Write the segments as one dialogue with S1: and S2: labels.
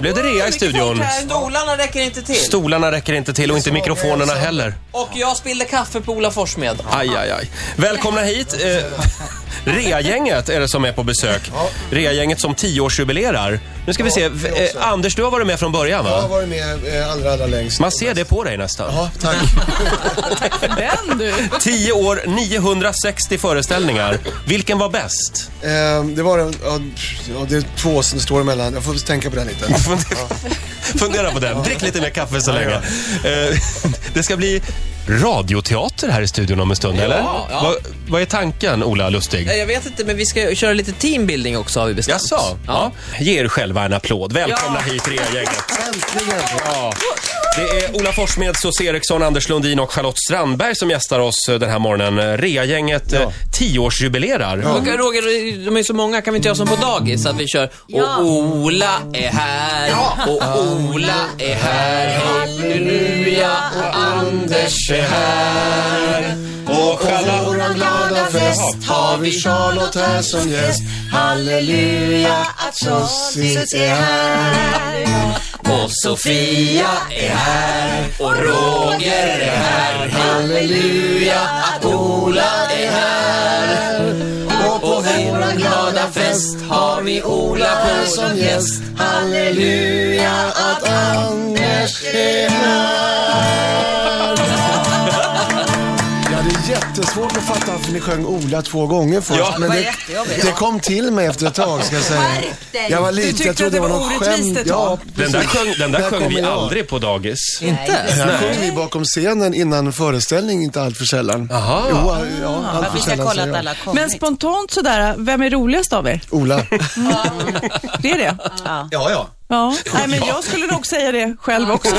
S1: blev det rea i studion.
S2: Stolarna räcker inte till.
S1: Stolarna räcker inte till och inte mikrofonerna heller.
S2: Och jag spillde kaffe på Ola Forssmed.
S1: Aj, aj, aj. Välkomna hit. Eh, Rea-gänget är det som är på besök. Rea-gänget som tioårsjubilerar. Nu ska vi se. V- eh, Anders, du har varit med från början
S3: Jag har
S1: va?
S3: varit med eh, allra, allra längst.
S1: Man ser det på dig nästan.
S3: Ja, tack.
S4: Den du!
S2: Eh,
S1: 10 år, 960 föreställningar. Vilken var bäst?
S3: Eh, det var en, ja, pff, ja, det är två som står emellan. Jag får tänka på det lite.
S1: Fundera på den. Drick lite mer kaffe så länge. Eh, Det ska bli radioteater här i studion om en stund, eller?
S2: ja. Eh,
S1: Vad, vad är tanken, Ola Lustig?
S2: Nej, Jag vet inte, men vi ska köra lite teambuilding också har vi bestämt.
S1: Jaså? Ja. Ge er själva en applåd. Välkomna
S2: Ja.
S1: hit, Rea-gänget.
S3: Äntligen!
S1: Ja. Det är Ola Forssmed, Sus Eriksson, Anders Lundin och Charlotte Strandberg som gästar oss eh, den här morgonen. Rea-gänget eh, tioårsjubilerar.
S2: Och Roger, de är så många, kan vi inte göra som på dagis? Att vi kör
S4: Ja.
S2: Och Ola är här, och Ola är här, halleluja, och Anders är här.
S3: Och på våran glada fest har vi Charlotte här som gäst.
S5: Halleluja att Sossis är här.
S2: Och Sofia är här, och Roger är här, halleluja, att Ola är här.
S3: Och på våran glada fest har vi Ola här som gäst. Halleluja att Anders är här. Ja, det är jättesvårt att fatta varför ni sjöng Ola två gånger först.
S1: Ja.
S3: men
S4: Det var
S3: det,
S4: jättejobbigt.
S3: det kom till mig efter ett tag, ska jag säga.
S5: Skärp dig.
S3: Jag var
S4: Du
S3: liten,
S4: tyckte
S3: jag trodde
S4: att
S3: det
S4: det
S3: var
S4: var
S3: någon
S4: orättvist
S3: skämt.
S4: ett
S3: Ja,
S4: tag.
S1: Den
S3: precis.
S1: där sjöng, den där sjöng
S3: kommer
S1: vi
S3: jag.
S1: aldrig på dagis.
S4: Inte?
S3: Den sjöng vi bakom scenen innan föreställning, inte allt för sällan.
S1: Aha.
S3: Jo, ja, allt för
S5: Vi ska
S3: sällan,
S5: kolla att
S3: säger jag.
S5: alla har kommit.
S4: Men spontant sådär, vem är roligast av er?
S3: Ola.
S4: Det är det?
S3: Ja, ja.
S4: Ja. Nej, men jag skulle nog säga det själv också.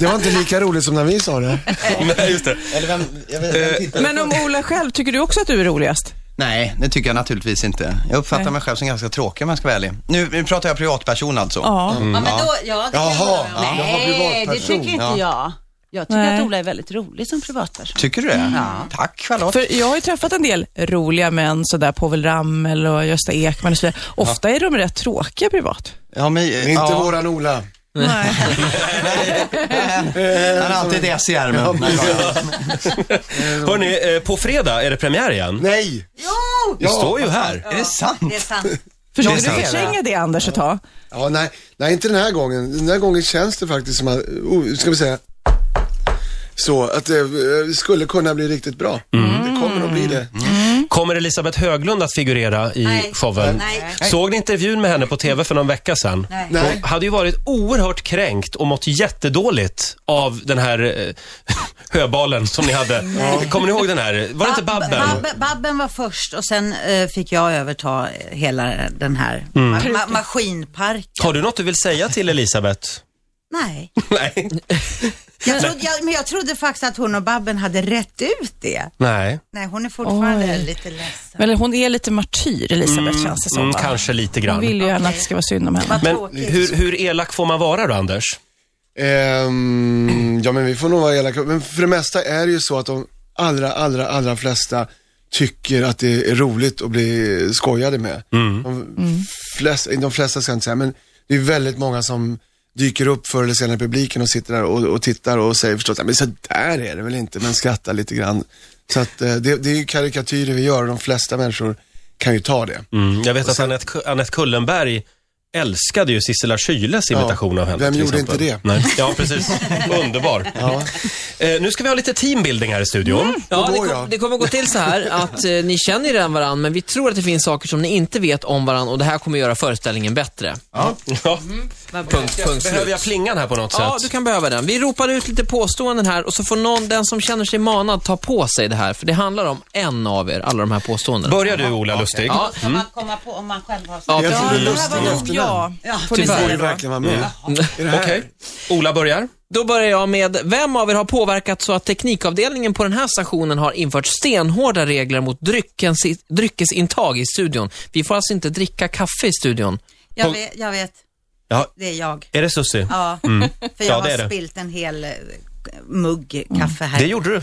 S3: Det var inte lika roligt som när vi sa det.
S1: Nej, just det.
S6: Eller vem, jag vet, vem tittar?
S4: Men om Ola själv, tycker du också att du är roligast?
S6: Eh, Nej, det tycker jag naturligtvis inte. Jag uppfattar
S4: Nej.
S6: mig själv som ganska tråkig om jag ska vara ärlig. Nu, nu pratar jag privatperson alltså.
S4: Ja.
S5: Ja, men då, ja, det kan jag
S3: Jaha,
S5: hålla med om.
S3: ja. Jaha,
S5: Nej, det
S3: privatperson.
S5: tycker inte
S6: Ja.
S5: jag. Jag tycker
S4: Nej.
S5: att Ola är väldigt rolig som privatperson.
S6: Tycker du det? Tack Charlotte.
S4: För jag har ju träffat en del roliga män, sådär Povel Ramel och Gösta Ekman och så vidare. Ofta är de rätt tråkiga privat.
S6: Ja, men,
S3: Det är inte våran Ola.
S4: Nej.
S6: Han har alltid ett S i ärmen.
S1: Hörni, eh, på fredag är det premiär igen.
S3: Nej!
S5: Jo!
S1: Det står ju här.
S6: Är det sant?
S5: Det är sant.
S4: Försöker
S6: Det är
S4: du
S6: sant.
S4: förtränga det Anders ett tag?
S3: Ja, nej, nej, inte den här gången. Den här gången känns det faktiskt som att, oh, ska vi säga, så att det eh, skulle kunna bli riktigt bra. Det kommer att bli det.
S1: Kommer Elisabeth Höglund att figurera i
S5: Nej.
S1: showen?
S5: Nej.
S1: Såg ni intervjun med henne på TV för någon vecka sedan?
S5: Nej.
S3: Nej.
S1: Hon hade ju varit oerhört kränkt och mått jättedåligt av den här eh, höbalen som ni hade. Kommer ni ihåg den här? Var det inte
S5: Bab-
S1: Alltså, Babben?
S5: Babbe- Babben var först och sen eh, fick jag överta eh, hela den här ma- ma- maskinparken.
S1: Har du något du vill säga till Elisabeth?
S5: Nej,
S1: Nej.
S5: jag trodde, jag, men jag trodde faktiskt att hon och Babben hade rätt ut det.
S1: Nej.
S5: Nej, hon är fortfarande
S4: Oj.
S5: lite ledsen.
S4: Eller hon är lite martyr, Elisabeth, känns det som.
S1: Mm,
S4: va?
S1: kanske lite
S4: Hon
S1: grann.
S4: vill ju gärna att det ska vara synd om henne.
S5: Vad
S1: Men
S5: tråkigt.
S1: hur, hur elak får man vara då, Anders?
S3: Ehm, ja, men vi får nog vara elaka. Men för det mesta är det ju så att de allra, allra, allra flesta tycker att det är roligt att bli skojade med. De, flesta, de flesta ska jag inte säga, men det är väldigt många som dyker upp förr eller senare i publiken och sitter där och, och tittar och säger förstås, "Nej, men så där är det väl inte, men skrattar lite grann. Så att eh, det, det är ju karikatyrer vi gör och de flesta människor kan ju ta det.
S1: Mm, jag vet att Annette, Ku- Annette Kullenberg älskade ju Sissela Kyles imitation
S3: Ja,
S1: av henne.
S3: vem
S1: till
S3: gjorde
S1: exempel.
S3: inte det?
S1: Nej. Ja, precis. Underbar. Eh, nu ska vi ha lite teambuilding här i studion.
S2: Ja,
S3: Då
S2: det,
S3: går
S2: kom,
S3: jag.
S2: det kommer gå till så här att eh, ni känner ju redan varann, men vi tror att det finns saker som ni inte vet om varann och det här kommer göra föreställningen bättre.
S1: Ja.
S2: Punkt, punkt,
S1: Behöver
S2: slut.
S1: jag plingan här på något
S2: Mm. Ja, du
S1: sätt?
S2: kan behöva den. Vi ropar ut lite påståenden här och så får någon, den som känner sig manad, ta på sig det här. För det handlar om en av er, alla de här påståendena.
S1: Börjar du, Ola Lustig?
S2: Ja.
S5: Kan man komma på om man själv har
S2: Ja,
S3: Jag
S2: precis.
S3: tror det
S4: Ja,
S3: är
S4: det här var
S3: lustigt
S4: nog jag, får ni
S2: Tyvärr.
S3: får ju
S4: säga då.
S3: verkligen vara med.
S1: Okej. Ola börjar.
S2: Då börjar jag med, vem av er har påverkat så att teknikavdelningen på den här stationen har infört stenhårda regler mot dryckens, dryckesintag i studion? Vi får alltså inte dricka kaffe i studion.
S5: Jag vet, jag vet.
S1: Ja.
S5: Det är jag.
S1: Är det Susie?
S5: Ja, för
S1: Mm. Ja,
S5: jag
S1: det är
S5: har
S1: det.
S5: spilt en hel eh, mugg kaffe här.
S1: Det gjorde du.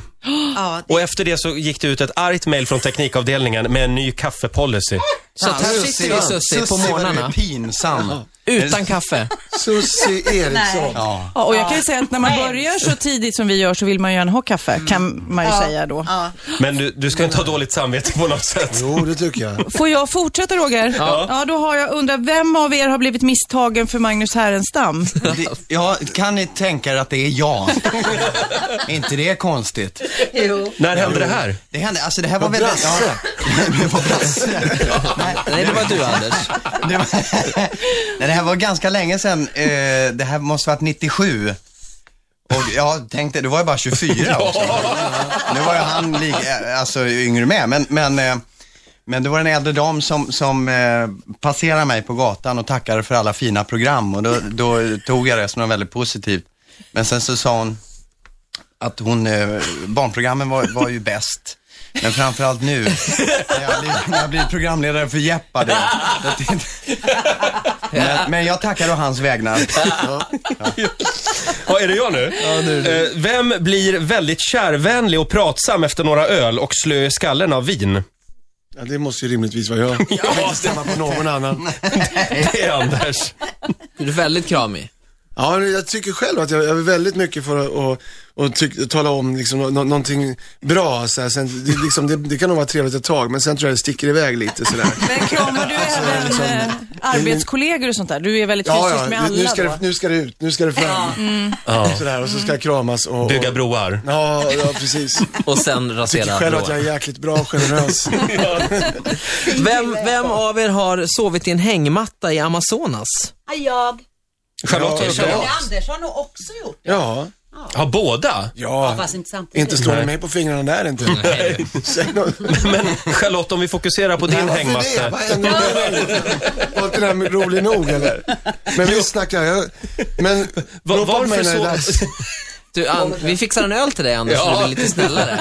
S5: Ja, det,
S1: Och efter det så gick det ut ett argt mejl från teknikavdelningen med en ny kaffepolicy.
S2: Så att här sitter vi Sussie på
S6: vad du är
S2: morgnarna.
S6: pinsam.
S2: Utan kaffe.
S3: Susie Eriksson.
S6: Ja.
S4: Ja, och jag kan ju säga att när man börjar så tidigt som vi gör så vill man ju gärna ha kaffe, kan man ju säga då.
S5: Mm. Ja.
S1: Men du, du ska inte ha dåligt samvete på något sätt.
S3: Jo, det tycker jag.
S4: Får jag fortsätta Roger? Ja. då har jag undrat, vem av er har blivit misstagen för Magnus Härenstam?
S6: Det, ja, kan ni tänka er att det är jag? inte det är konstigt?
S5: Jo.
S1: När hände det här?
S6: Det hände, alltså det här var väldigt...
S3: Brasse.
S6: Ja, det var Brasse. Nej,
S2: Nej, det var du Anders.
S6: det var, nej, det här var ganska länge sedan. Eh, det här måste varit 97. Och jag tänkte, då var jag bara 24 också. Nu var ju han lika, alltså yngre med, men, men, eh, men det var en äldre dam som, som eh, passerade mig på gatan och tackade för alla fina program och då, då tog jag det som något väldigt positivt. Men sen så sa hon att hon, eh, barnprogrammen var, var ju bäst. Men framförallt nu, när jag blir, när jag blir programledare för Jeopardy. Jag tänkte- Men, men jag tackar å hans vägnar.
S1: Ja, är det jag nu? Eh, Vem blir väldigt kärvänlig och pratsam efter några öl och slö i skallen av vin?
S3: Ja, det måste ju rimligtvis vara jag. Jag kan inte stämma på någon annan.
S1: Det är Anders.
S2: Du är väldigt kramig.
S3: Ja, jag tycker själv att jag, jag är väldigt mycket för att och, och tyck, tala om liksom, nå- någonting bra. Så här. Sen, det, liksom, det, det kan nog vara trevligt ett tag, men sen tror jag det sticker iväg lite sådär.
S4: Men kramar du även
S3: liksom-
S4: eh, arbetskollegor och sånt där? Du är väldigt
S3: Ja,
S4: fysiskt med
S3: ja, nu,
S4: alla
S3: nu, ska
S4: då? mm.
S3: det, nu ska det ut, nu ska det fram. Sådär, och så ska jag kramas och...
S1: Bygga
S3: och,
S1: broar.
S3: Ja, ja, precis.
S2: Och sen
S3: Tycker
S2: rasera
S3: själv att
S2: blåa.
S3: jag är jäkligt bra och generös.
S2: Vem, vem av er har sovit i en hängmatta i Amazonas?
S5: Jag.
S1: Charlotte,
S3: Ja,
S1: är det jag?
S5: Anders har nog också gjort det.
S3: Ja,
S1: Ja, båda.
S3: ja.
S5: Fast inte samtidigt.
S3: Inte står ni mig på fingrarna där inte. Nej. Säg något.
S1: Men Charlotte, om vi fokuserar på din
S3: Varför det?
S1: hängmatta.
S3: Vad händer med dig? Var inte det här rolig nog eller? Men vi snackar, jag... Men...
S1: Va-
S3: ropa på mig
S1: varför
S3: när det är dags.
S1: så...
S2: Du, an, vi fixar en öl till dig Anders, så
S1: Ja.
S2: du blir lite snällare.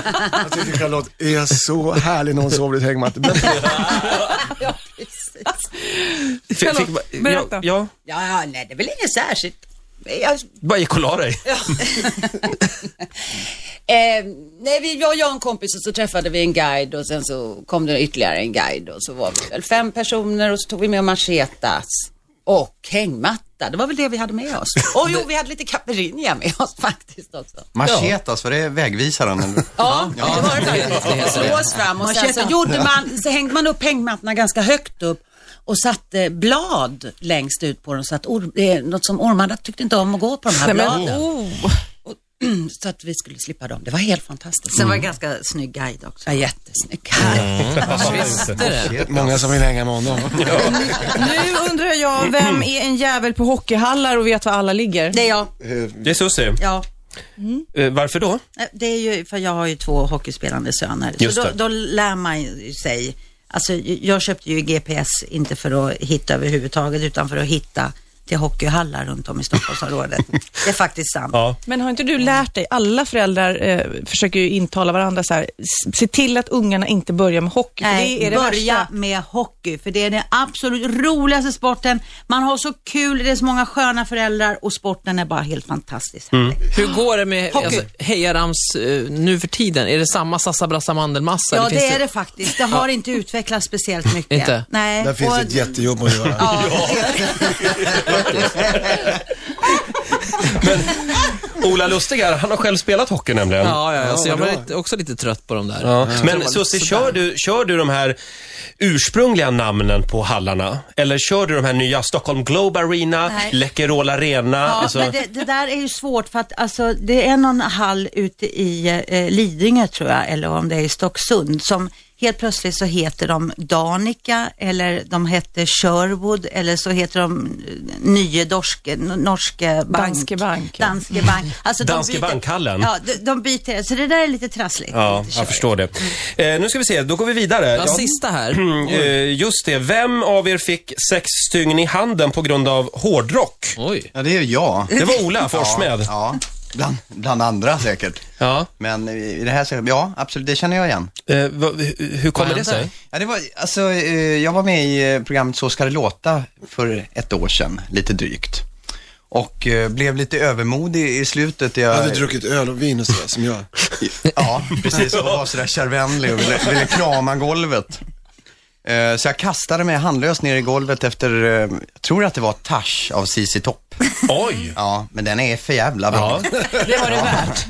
S3: Jag tycker Charlotte är så härlig när hon sover i ett hängmatte. Men
S1: Fick- fick-
S4: Charlotte,
S1: ja,
S4: berätta.
S1: ja,
S5: Ja, ja, nej, det är väl inget särskilt. Jag,
S1: bara gick och la dig.
S5: eh, nej, vi, jag, jag och en kompis och så träffade vi en guide och sen så kom det ytterligare en guide och så var vi väl fem personer och så tog vi med machetas och hängmatta. Det var väl det vi hade med oss. Och jo, vi hade lite caipirinha med oss faktiskt också.
S6: Machetas, var alltså, det vägvisaren? eller?
S5: Ja, det var det faktiskt. Lås fram och sen så, gjorde man, så hängde man upp hängmattorna ganska högt upp och satte blad längst ut på dem så att or- eh, något som ormarna tyckte inte om att gå på de här
S4: Nej, men,
S5: bladen.
S4: oh.
S5: Så att vi skulle slippa dem. Det var helt fantastiskt. Sen var det ganska snygg guide också. Ja, jättesnygg guide.
S2: Visste det?
S3: många som vill hänga med honom.
S4: Nu undrar jag, vem är en jävel på hockeyhallar och vet var alla ligger?
S5: Det är jag.
S1: Det är Susie.
S5: Ja.
S1: Eh, Varför då?
S5: Nej, Det är ju, för jag har ju två hockeyspelande söner.
S1: Just
S5: så då,
S1: det.
S5: då lär man ju sig. Alltså, jag köpte ju GPS, inte för att hitta överhuvudtaget, utan för att hitta till hockeyhallar runt om i Stockholmsområdet. det är faktiskt sant.
S1: Ja.
S4: Men har inte du lärt dig, alla föräldrar eh, försöker ju intala varandra så här, s- se till att ungarna inte börjar med hockey, för
S5: Nej,
S4: det är det
S5: Eh, börja
S4: värsta.
S5: med hockey, för det är den absolut roligaste sporten. Man har så kul, det är så många sköna föräldrar och sporten är bara helt fantastisk. härlig.
S2: Hur går det med
S5: Hockey.
S2: alltså, hejarams eh, nu för tiden? Är det samma Sassa Brassa Mandelmassa?
S5: Ja, det
S2: finns
S5: är det faktiskt. Det har inte utvecklats speciellt mycket.
S2: Inte?
S5: Nej.
S3: Där finns
S5: och-
S3: ett jättejobb att göra.
S5: Ja,
S1: Ola Lustig här, han har själv spelat hockey nämligen.
S2: Ja, ja, ja, så jag
S3: vad
S2: var
S3: bra.
S2: lite- också lite trött på de där. Mm.
S1: Ja. Men Susie, kör du, kör du de här ursprungliga namnen på hallarna? Eller kör du de här nya Stockholm Globe Arena,
S5: Nej.
S1: Läkerol Arena?
S5: Ja,
S1: alltså,
S5: men det, det där är ju svårt för att alltså, det är någon hall ute i eh, Lidingö tror jag, eller om det är i Stocksund, som helt plötsligt så heter de Danica eller de hette Sherwood eller så heter de eh, Nye Dorske, Norske Bank.
S4: Danske Bank, ja.
S5: Danske Bank. Alltså, de
S1: Danske
S5: byter-
S1: Bankhallen.
S5: Ja, de, de byter, så det där är lite trassligt.
S1: Ja,
S5: Lite Mm.
S1: jag
S5: körigt.
S1: förstår det. Eh, nu ska vi se, då går vi vidare.
S2: Ja,
S1: Ja.
S2: sista här.
S1: Mm, eh, just det, vem av er fick sex stygn i handen på grund av hårdrock?
S2: Oj.
S6: Ja, det är ju jag.
S1: Det var Ola Forssmed.
S6: Ja, ja. Bland, bland andra säkert.
S1: Ja.
S6: Men i i det här, så- ja absolut, det känner jag igen.
S1: Eh, va, hur, hur kommer
S2: Vad
S1: det
S2: hände?
S1: sig?
S6: Ja, det var, alltså, eh, jag var med i eh, programmet Så ska det låta för ett år sedan, lite drygt. Och eh, blev lite övermodig i slutet.
S3: Jag
S6: Jag,
S3: hade druckit öl och vin och sådär som jag.
S6: Ja, precis. Och var sådär kärvänlig och ville, ville krama golvet. Eh, Så jag kastade mig handlöst ner i golvet efter, eh, jag tror att det var Tash av CC Topp.
S1: Oj!
S6: Ja, men den är för jävla bra.
S1: Ja.
S4: Det var det värt.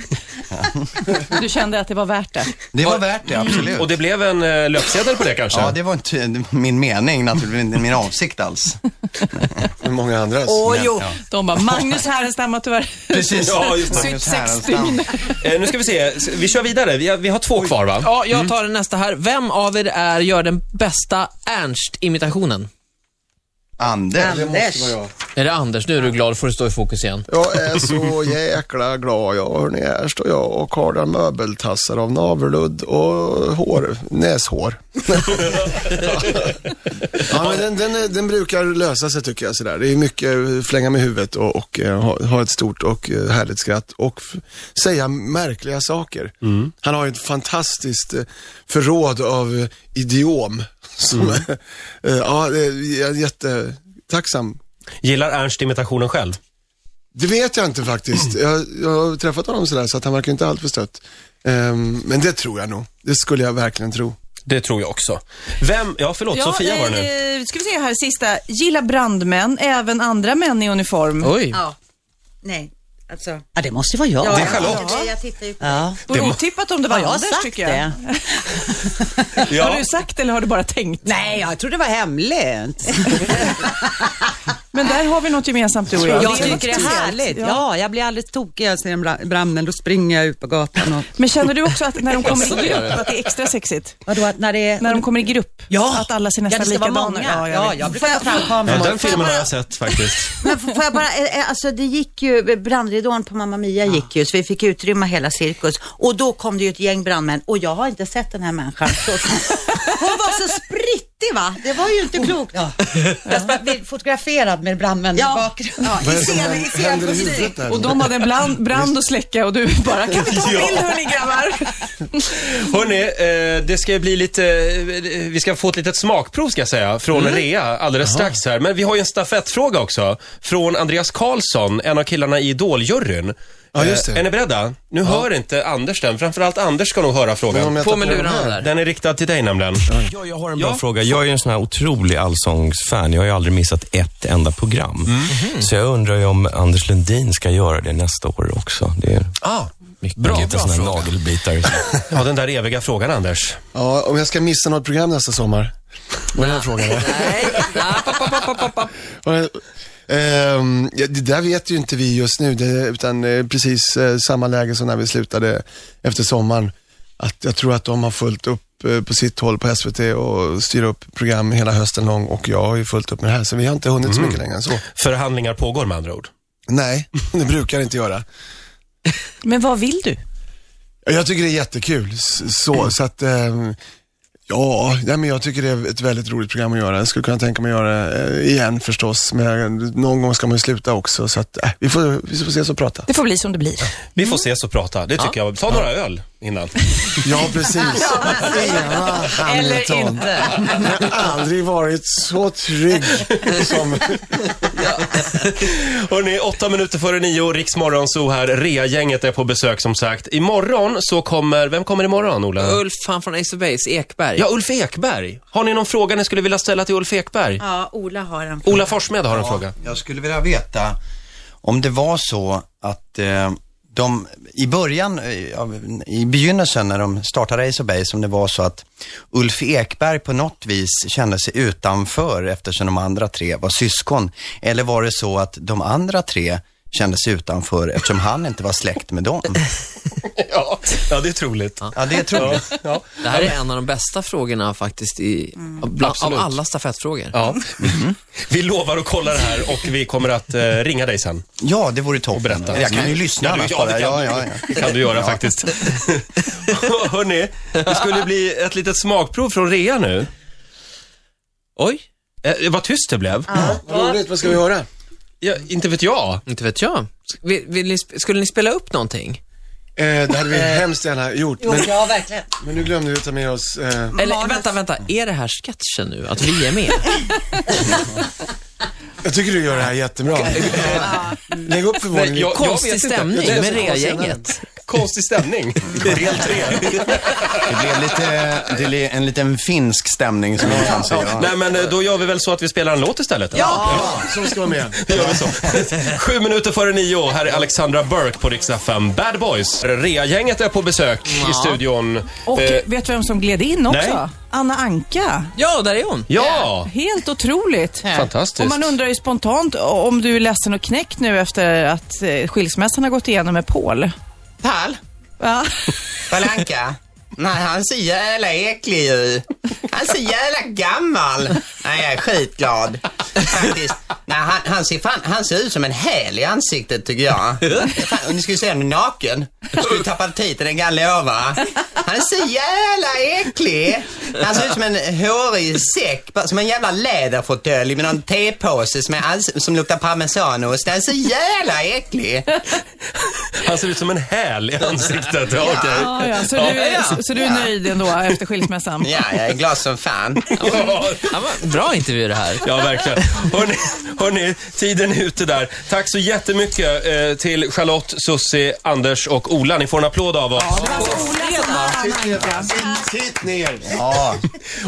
S4: Du kände att det var värt det.
S6: Det var värt det, absolut.
S1: Och det blev en eh, löpsedel på det kanske?
S6: Ja, det var inte min mening naturligtvis, inte min avsikt alls.
S3: Med många andras.
S4: Åh jo,
S6: ja.
S4: de bara, Magnus Härenstam har tyvärr
S6: Precis.
S1: Ja, just det.
S4: sytt
S6: Magnus
S4: 60
S6: Härenstam.
S1: Eh, nu ska vi se, S- vi kör vidare. Vi har, vi har två kvar va?
S2: Ja, jag tar den nästa här. Vem av er är, gör den bästa Ernst-imitationen?
S6: Anders.
S3: Det måste vara jag.
S2: Är det Anders? Nu är du glad, får du stå i fokus igen.
S3: Jag är så jäkla glad jag. Hörni, här står jag och kardar möbeltassar av navelludd och hår, näshår. ja, men den, den, är- den brukar lösa sig tycker jag. Sådär. Det är mycket flänga med huvudet och, och eh, ha, ha ett stort och eh, härligt skratt och f- säga märkliga saker. Han har ju ett fantastiskt eh, förråd av eh, idiom. Som, eh, ja, det är- jag är jättetacksam
S1: Gillar Ernst imitationen själv?
S3: det vet jag inte faktiskt. Jag, jag har träffat honom sådär så att han verkar inte alltför stött. Ehm, men det tror jag nog. Det skulle jag verkligen tro.
S1: Det tror jag också. Vem, ja förlåt, Sofia var det nu.
S4: eh, ska vi se här, sista. Gilla brandmän, även andra män i
S1: Oh,
S4: uniform.
S2: Oj.
S5: Ja. Nej, alltså.
S7: Ja, det måste ju vara jag.
S5: Ja,
S7: Ja,
S5: jag-
S1: Charlotte.
S5: nej, Jag tittar ju på
S7: ja.
S4: Vore otippat om det var
S7: Har jag
S4: Anders,
S7: sagt
S4: tycker jag.
S7: det?
S4: Har
S1: Ja.
S4: du sagt eller har du bara tänkt?
S7: Nej, jag tror det var hemligt.
S4: Men där har vi något gemensamt du och jag.
S7: Jag
S4: är något
S7: tycker det är
S4: speciellt.
S7: härligt.
S4: Ja.
S7: Ja, jag blir alldeles tokig när jag ser en bra- brandman. Då springer jag ut på gatan. Och...
S4: Men känner du också att när de kommer i grupp, att det är extra sexigt?
S7: Vadå, att när det är...
S4: När de kommer i grupp,
S7: Ja.
S4: att alla ser nästan
S7: ja, det ska vara
S4: likadana Ja,
S7: många.
S4: jag
S7: Ja,
S4: vet.
S7: jag brukar ta fram kameran.
S1: Ja, den filmen har jag sett faktiskt.
S5: Men f- får jag bara, eh, eh, alltså det gick ju, brandridån på Mamma Mia gick ju, så vi fick utrymma hela cirkus. Och då kom det ju ett gäng brandmän och jag har inte sett den här människan. Så, hon var så sprittig va? Det var ju inte klokt.
S7: Ja. Jag ska bli fotograferad med brandmän i
S5: Ja,
S7: bakgrunden.
S5: ja
S3: Vad är
S5: i
S3: det som
S5: scen, i
S3: händer i
S5: scenkostym.
S3: huvudet där?
S4: Och de hade en brand, brand att släcka och du bara, kan vi ta en bild hörni grabbar?
S1: Hörni, eh, det ska ju bli lite, eh, vi ska få ett litet smakprov ska jag säga, från Rea alldeles strax här. Men vi har ju en stafettfråga också, från Andreas Karlsson, en av killarna i Idoljuryn.
S3: Ja, just det.
S1: Eh, Är ni beredda? Nu hör inte Anders den, framförallt Anders ska nog höra frågan.
S3: jag
S2: På
S3: tar
S2: med
S3: den
S2: lurarna
S3: här.
S2: där.
S1: Den är riktad till dig nämligen.
S8: Ja, jag har en bra fråga. Jag är ju en sån här otrolig allsångsfan. Jag har ju aldrig missat ett enda program. Så jag undrar ju om Anders Lundin ska göra det nästa år också. Det är
S1: Ah,
S8: mycket
S1: Bra, bra
S8: såna här
S1: fråga.
S8: nagelbitar.
S1: ja, den där eviga frågan Anders.
S3: Ja, om jag ska missa något program nästa sommar. Vad är den frågan?
S2: Nej. Ah, pop, pop, pop, pop, pop.
S3: Ehm, ja, det där vet ju inte vi just nu, det, utan eh, precis eh, samma läge som när vi slutade efter sommaren. Att jag tror att de har fullt upp eh, på sitt håll på SVT och styr upp program hela hösten lång och jag har ju fullt upp med det här, så vi har inte hunnit så mycket längre än så.
S1: Förhandlingar pågår med andra ord.
S3: Nej, det brukar det inte göra.
S4: Men vad vill du?
S3: Jag tycker det är jättekul. S- Så, så att, ehm, ja, nej, men jag tycker det är ett väldigt roligt program att göra. Jag skulle kunna tänka mig att göra det eh, igen förstås, men någon gång ska man ju sluta också. Så att, eh, vi, får, vi får ses och prata.
S4: Det får bli som det blir.
S1: Vi
S3: Mm.
S1: får ses och prata, det tycker jag. Ta några öl innan.
S3: Ja, precis. Eva
S7: Eller
S3: Hamilton.
S7: inte.
S3: Jag har aldrig varit så trygg som...
S1: Hörrni, åtta minuter före nio, Riksmorgon så här. Rea-gänget är på besök som sagt. Imorgon så kommer, vem kommer imorgon Ola?
S2: Ulf, han från Ace of Base, Ekberg.
S1: Ja, Ulf Ekberg. Har ni någon fråga ni skulle vilja ställa till Ulf Ekberg?
S5: Ja, Ola har en.
S1: Ola Forsmed har en fråga.
S6: Jag skulle vilja veta om det var så att eh, de i början, eh, av- i begynnelsen när de startade Ace of Base, om det var så att Ulf Ekberg på något vis kände sig utanför eftersom de andra tre var syskon. Eller var det så att de andra tre kände sig utanför eftersom han inte var släkt med dem?
S1: Ja, ja det är troligt.
S6: Ja, det tror jag.
S2: Det här är en av de bästa frågorna faktiskt i, bland, av alla stafettfrågor.
S1: Ja. Mm. Vi lovar att kolla det här och vi kommer att eh, ringa dig sen.
S6: Ja, det vore toppen.
S1: Berätta. Mm.
S6: Eller Jag kan ju lyssna
S1: ja,
S6: annars
S1: du, ja,
S6: bara.
S1: det kan,
S6: Ja,
S1: du.
S6: ja,
S1: Det
S6: ja.
S1: kan du göra faktiskt. Hörrni, det skulle bli ett litet smakprov från Rea nu.
S2: Oj,
S1: Eh, vad tyst det blev.
S3: Roligt, vad ska vi höra?
S1: Ja, inte vet jag.
S2: inte vet jag. Sk- Vill, vill ni, sp- skulle ni spela upp någonting?
S3: Eh, det hade vi hemskt gärna gjort,
S7: Jo,
S3: men,
S7: ja, verkligen.
S3: men nu glömde vi ta med oss... Eh,
S2: Eller
S5: Manus.
S2: vänta, vänta, är det här sketchen nu? Att vi är med?
S3: jag tycker du gör det här jättebra. Lägg upp förvåningen.
S1: Nej, jag-
S2: Konstig
S1: vet inte.
S2: stämning
S3: Jag tror jag
S2: med
S3: ska ta senare.
S2: rea-gänget.
S1: Konstig stämning. Del tre.
S9: Det blev lite, det blev en liten finsk stämning som jag kan säga.
S1: Nej, men eh, då gör vi väl så att vi spelar en låt istället. eller?
S3: Ja, som ska vara med.
S1: Då gör vi så. Sju minuter före nio. Här är Alexandra Burke på Rix FM. Bad Boys. Rea-gänget är på besök i studion.
S4: Och
S1: Eh,
S4: vet du vem som gled in också?
S1: nej.
S4: Anna Anka.
S2: Ja, där är hon.
S1: ja!
S4: Helt otroligt.
S1: Fantastiskt.
S4: Och man undrar ju spontant om du är ledsen och knäckt nu efter att eh, skilsmässan har gått igenom med Paul.
S6: Pall?
S4: Ja.
S6: Palanka? Nej, han är så jävla äcklig ju. Han är så jävla gammal. Nej, jag är skitglad. Faktiskt. Nej, han, han, ser fan, han ser ut som en häl i ansiktet tycker jag. Fan, och ni skulle se honom naken. Du skulle tappa titeln, den kan jag lova. Han är så jävla äcklig. Han ser ut som en hårig säck, bara som en jävla läderfåtölj med någon tepåse som, är alls, som luktar parmesanost. Han är så jävla äcklig.
S1: Han ser ut som en häl i ansiktet. Ja, okej.
S4: Ja, ja. Så, du är,
S6: Ja.
S4: så, så du är nöjd ändå efter skilsmässan?
S6: Ja, jag är glad som fan.
S1: Ja,
S2: Ja, men bra intervju det här.
S1: Ja, verkligen. Hörrni, hörrni, tiden är ute där. Tack så jättemycket eh, till Charlotte, Sussi, Anders och Ola. Ni får en applåd av oss.
S3: Sitt- Sitt ner.
S9: Ja,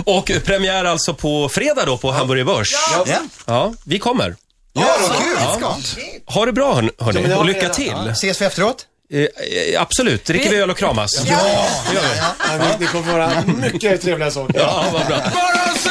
S1: Och premiär alltså på fredag då på Hamburger Börs. Ja.
S9: ja.
S1: vi kommer.
S9: ja vad kul. Ja.
S1: Ha det bra hörn- hörni och lycka till.
S9: Ses vi efteråt?
S1: Eh, eh, absolut, dricker vi öl och kramas.
S3: Ja, ni, ni kommer få höra mycket trevliga saker.
S1: Ja, vad bra.
S3: Bara så!